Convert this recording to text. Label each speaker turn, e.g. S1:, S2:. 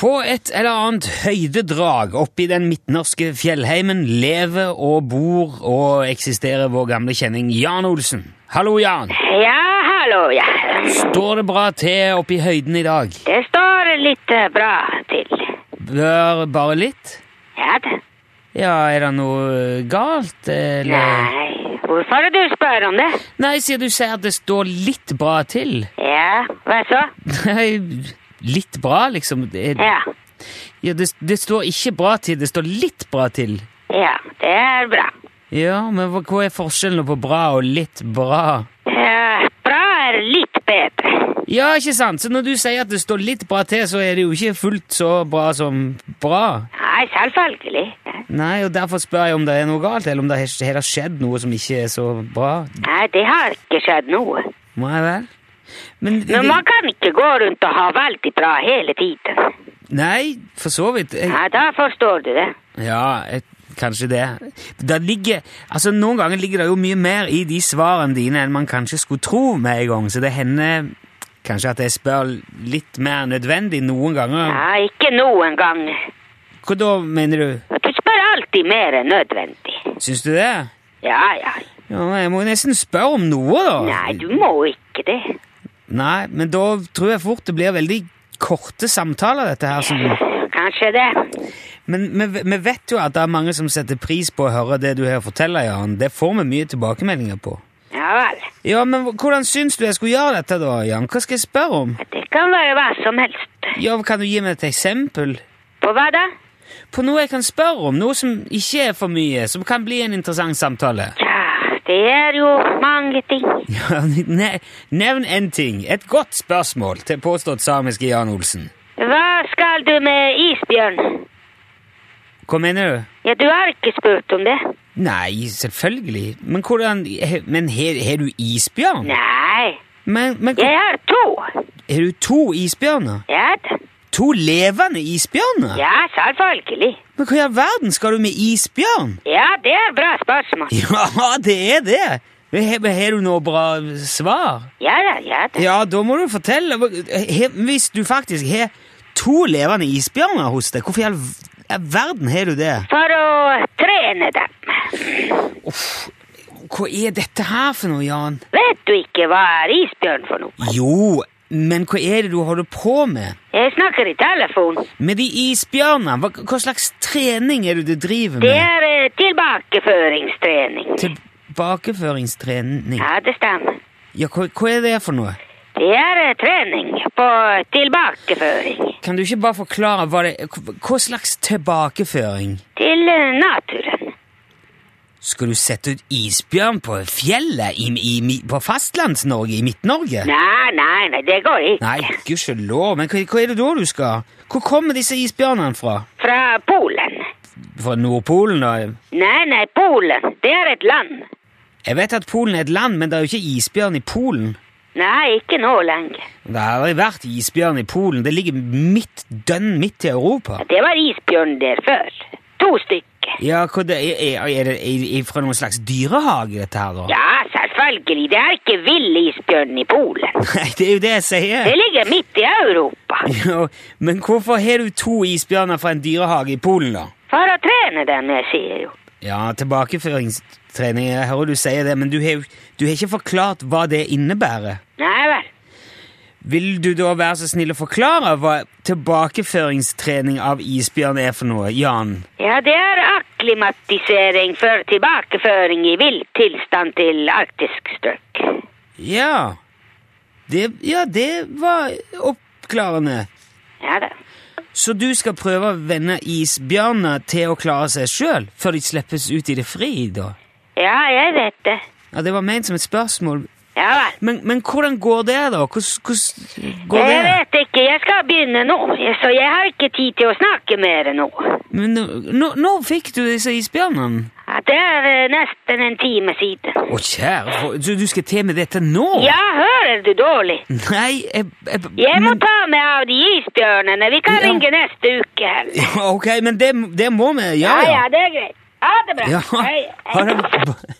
S1: På et eller annet høydedrag oppi den midtnorske fjellheimen lever og bor og eksisterer vår gamle kjenning Jan Olsen. Hallo, Jan.
S2: Ja, hallo, ja.
S1: Står det bra til oppi høyden i dag?
S2: Det står litt eh, bra til.
S1: Bør bare litt?
S2: Ja da.
S1: Ja, er det noe galt, eller
S2: Nei, hvorfor du spør om det?
S1: Nei, sier du sier at det står litt bra til.
S2: Ja, hva så?
S1: Nei, litt bra, liksom. Det,
S2: Ja,
S1: ja, det, det står ikke bra til, det står litt bra til.
S2: ja, det er bra.
S1: Ja, men hva hva er forskjellen på bra og litt bra?
S2: Ja, bra er litt bedre.
S1: Ja, ikke sant? Så når du sier at det står litt bra til, så er det jo ikke fullt så bra som bra.
S2: Nei, selvfølgelig.
S1: Nei, og derfor spør jeg om det er noe galt, eller om det har har det skjedd noe som ikke er så bra.
S2: Nei, det har ikke skjedd noe.
S1: Nei vel? Men,
S2: Men man kan ikke gå rundt og ha veldig bra hele tiden.
S1: Nei, for så vidt. Jeg,
S2: Nei, da forstår du det.
S1: ja, jeg, kanskje det. Det ligger, altså Noen ganger ligger det jo mye mer i de svarene dine enn man kanskje skulle tro med en gang, så det hender kanskje at jeg spør litt mer nødvendig noen ganger.
S2: Nei, ikke noen gang.
S1: Hva da, mener du?
S2: Du spør alltid mer enn nødvendig.
S1: Syns du det?
S2: Ja, ja.
S1: Ja, jeg må jo nesten spørre om noe, da.
S2: Nei, du må ikke det.
S1: Nei, men da tror jeg fort det blir veldig korte samtaler, dette her. Som,
S2: Kanskje det.
S1: men vi, vi vet jo at det er mange som setter pris på å høre det du her forteller, Jan. Det får vi mye tilbakemeldinger på.
S2: Ja vel.
S1: Ja, men hv- hvordan syns du jeg skulle gjøre dette, da, Jan? Hva skal jeg spørre om?
S2: Det kan være hva som helst.
S1: Ja, Kan du gi meg et eksempel?
S2: På hva da?
S1: På noe jeg kan spørre om, noe som ikke er for mye, som kan bli en interessant samtale.
S2: Ja, det er jo mange ting.
S1: Ja, ne, nevn en ting. Et godt spørsmål til påstått samiske Jan Olsen.
S2: Hva skal du med isbjørn?
S1: Hva mener du?
S2: Ja, du har ikke spurt om det.
S1: Nei, selvfølgelig. Men hvordan Men har har du isbjørn?
S2: Nei,
S1: Men, men
S2: jeg har to.
S1: har du to isbjørner?
S2: Ja, da.
S1: To levende isbjørner?
S2: ja selvfølgelig.
S1: Men hva i all verden skal du med isbjørn?
S2: Ja, det er bra spørsmål.
S1: Ja, det er det! Men Har men har du noe bra svar?
S2: Ja da, ja da.
S1: Ja, da må du fortelle. Har- Hvis du faktisk har to levende isbjørner hos deg, hvorfor i all v- all verden har du det?
S2: For å trene dem.
S1: Hva er dette her for noe, Jan?
S2: Vet du ikke hva er isbjørn for noe?
S1: Jo, men hva er det du holder på med?
S2: Jeg snakker i telefon.
S1: Med de isbjørnene, hva, hva slags trening er det du driver
S2: Det
S1: med?
S2: er eh, tilbakeføringstrening.
S1: Tilbakeføringstrening?
S2: Ja, det stemmer.
S1: Ja, hva, hva er det for noe?
S2: Det er eh, trening på tilbakeføring
S1: Kan du ikke bare forklare hva det hva- Hva slags tilbakeføring?
S2: til eh, naturen.
S1: Skal du sette ut isbjørn på fjellet i, i, mi- på Fastlands-Norge? I Midt-Norge?
S2: Nei, nei, nei, det går ikke.
S1: Nei, gudskjelov, men hva, hva er det da du skal? Hvor kommer disse isbjørnene fra?
S2: Fra Polen.
S1: Fra Nordpolen, da?
S2: Nei, nei, Polen, det er et land.
S1: Jeg vet at Polen er et land, men det er jo ikke isbjørn i Polen.
S2: Nei, ikke nå lenger.
S1: Det har aldri vært isbjørn i Polen. Det ligger midt dønn midt i Europa.
S2: Det var isbjørn der før. To stykker.
S1: Ja, hva det, er, er det er, er fra noen slags dyrehage, dette her, da?
S2: Ja, selvfølgelig. Det er ikke vill isbjørn i Polen.
S1: Nei, det er jo det jeg sier!
S2: Det ligger midt i Europa.
S1: Ja, men hvorfor har du to isbjørner fra en dyrehage i Polen, da?
S2: For å trene dem, jeg sier jo.
S1: Ja, tilbakeføringstrening, jeg hører du sier det, men du har, jo- du har ikke forklart hva det innebærer.
S2: Nei vel.
S1: Vil du da være så snill å forklare hva tilbakeføringstrening av isbjørn er for noe, Jan?
S2: Ja, det er akklimatisering for tilbakeføring i vill tilstand til arktisk strøk.
S1: Ja. Det, ja, det var oppklarende.
S2: Ja da.
S1: Så du skal prøve å vende isbjørnene til å klare seg sjøl, før de slippes ut i det fri, da?
S2: Ja, jeg vet det.
S1: Ja, Det var ment som et spørsmål.
S2: Ja vel.
S1: Men, men hvordan går det, da? Hvordan, hvordan går
S2: Jeg
S1: det?
S2: vet ikke, jeg skal begynne nå, så jeg har ikke tid til å snakke mer nå.
S1: Men nå, nå, nå fikk du disse isbjørnene.
S2: Ja, Det er eh, nesten en time siden.
S1: Å, kjære for- Så du skal til med dette nå?
S2: Ja, hører du dårlig?
S1: Nei, jeg, jeg,
S2: Jeg må
S1: men-
S2: ta meg av de isbjørnene. Vi kan
S1: Ja.
S2: ringe neste uke. heller.
S1: Ja, Ok, men det, det må vi.
S2: Ja,
S1: Ja,
S2: ja, det er greit. Ha det bra.
S1: ja.
S2: Hei,
S1: Ha det.